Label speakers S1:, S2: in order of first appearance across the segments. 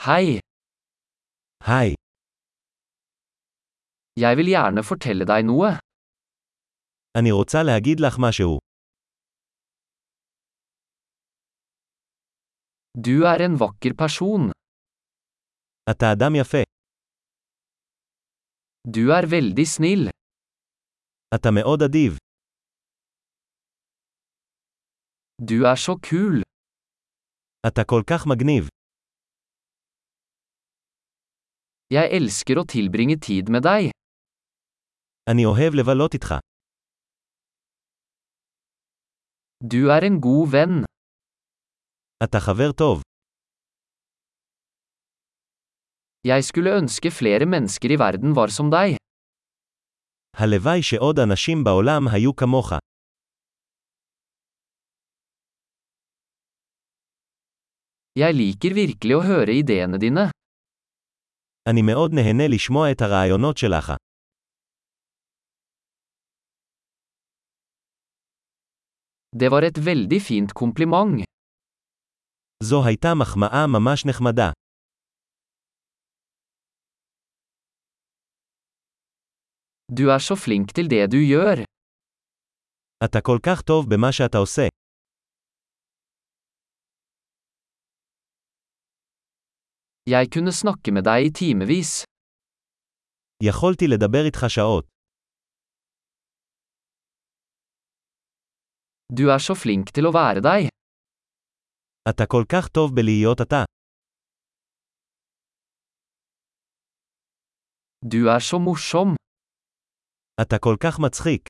S1: Hei,
S2: Hei,
S1: jeg vil gjerne fortelle deg noe.
S2: אני רוצה להגיד לך משהו.
S1: Du er en vakker person.
S2: אתה אדם יפה,
S1: Du er veldig snill.
S2: אתה מאוד אדיב,
S1: Du er så kul.
S2: אתה כל כך מגניב,
S1: Jeg elsker å tilbringe tid med deg.
S2: אני אוהב לבלות איתך,
S1: Du er en god venn.
S2: אתה חבר טוב,
S1: Jeg skulle ønske flere mennesker i verden var som deg.
S2: הלוואי שעוד אנשים בעולם היו כמוך,
S1: Jeg liker virkelig å høre ideene dine.
S2: אני מאוד נהנה לשמוע את הרעיונות שלך,
S1: Det var et veldig fint kompliment.
S2: זו הייתה מחמאה ממש נחמדה,
S1: Du er så flink til det du gjør.
S2: אתה כל כך טוב במה שאתה עושה,
S1: Jeg kunne snakke med deg i timevis.
S2: יכולתי לדבר איתך שעות,
S1: Du er så flink til å være deg.
S2: אתה כל כך טוב בלהיות אתה,
S1: Du er så morsom.
S2: אתה כל כך מצחיק,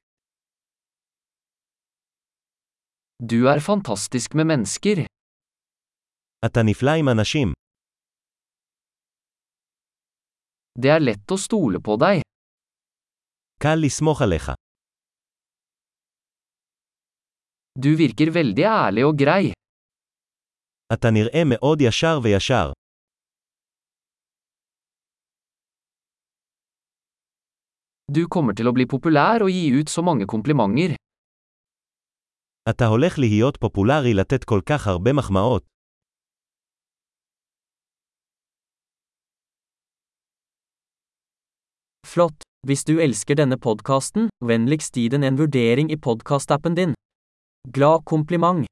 S1: Du er fantastisk med mennesker.
S2: אתה נפלא עם אנשים,
S1: Det er lett å stole på deg.
S2: קל לסמוך עליך,
S1: Du virker veldig ærlig og grei.
S2: אתה נראה מאוד ישר וישר,
S1: Du kommer til å bli populær og gi ut så mange komplimenter.
S2: אתה הולך להיות פופולרי לתת כל כך הרבה מחמאות,
S3: Flott! Hvis du elsker denne podkasten, vennligst gi den en vurdering i podkastappen din. Glad kompliment!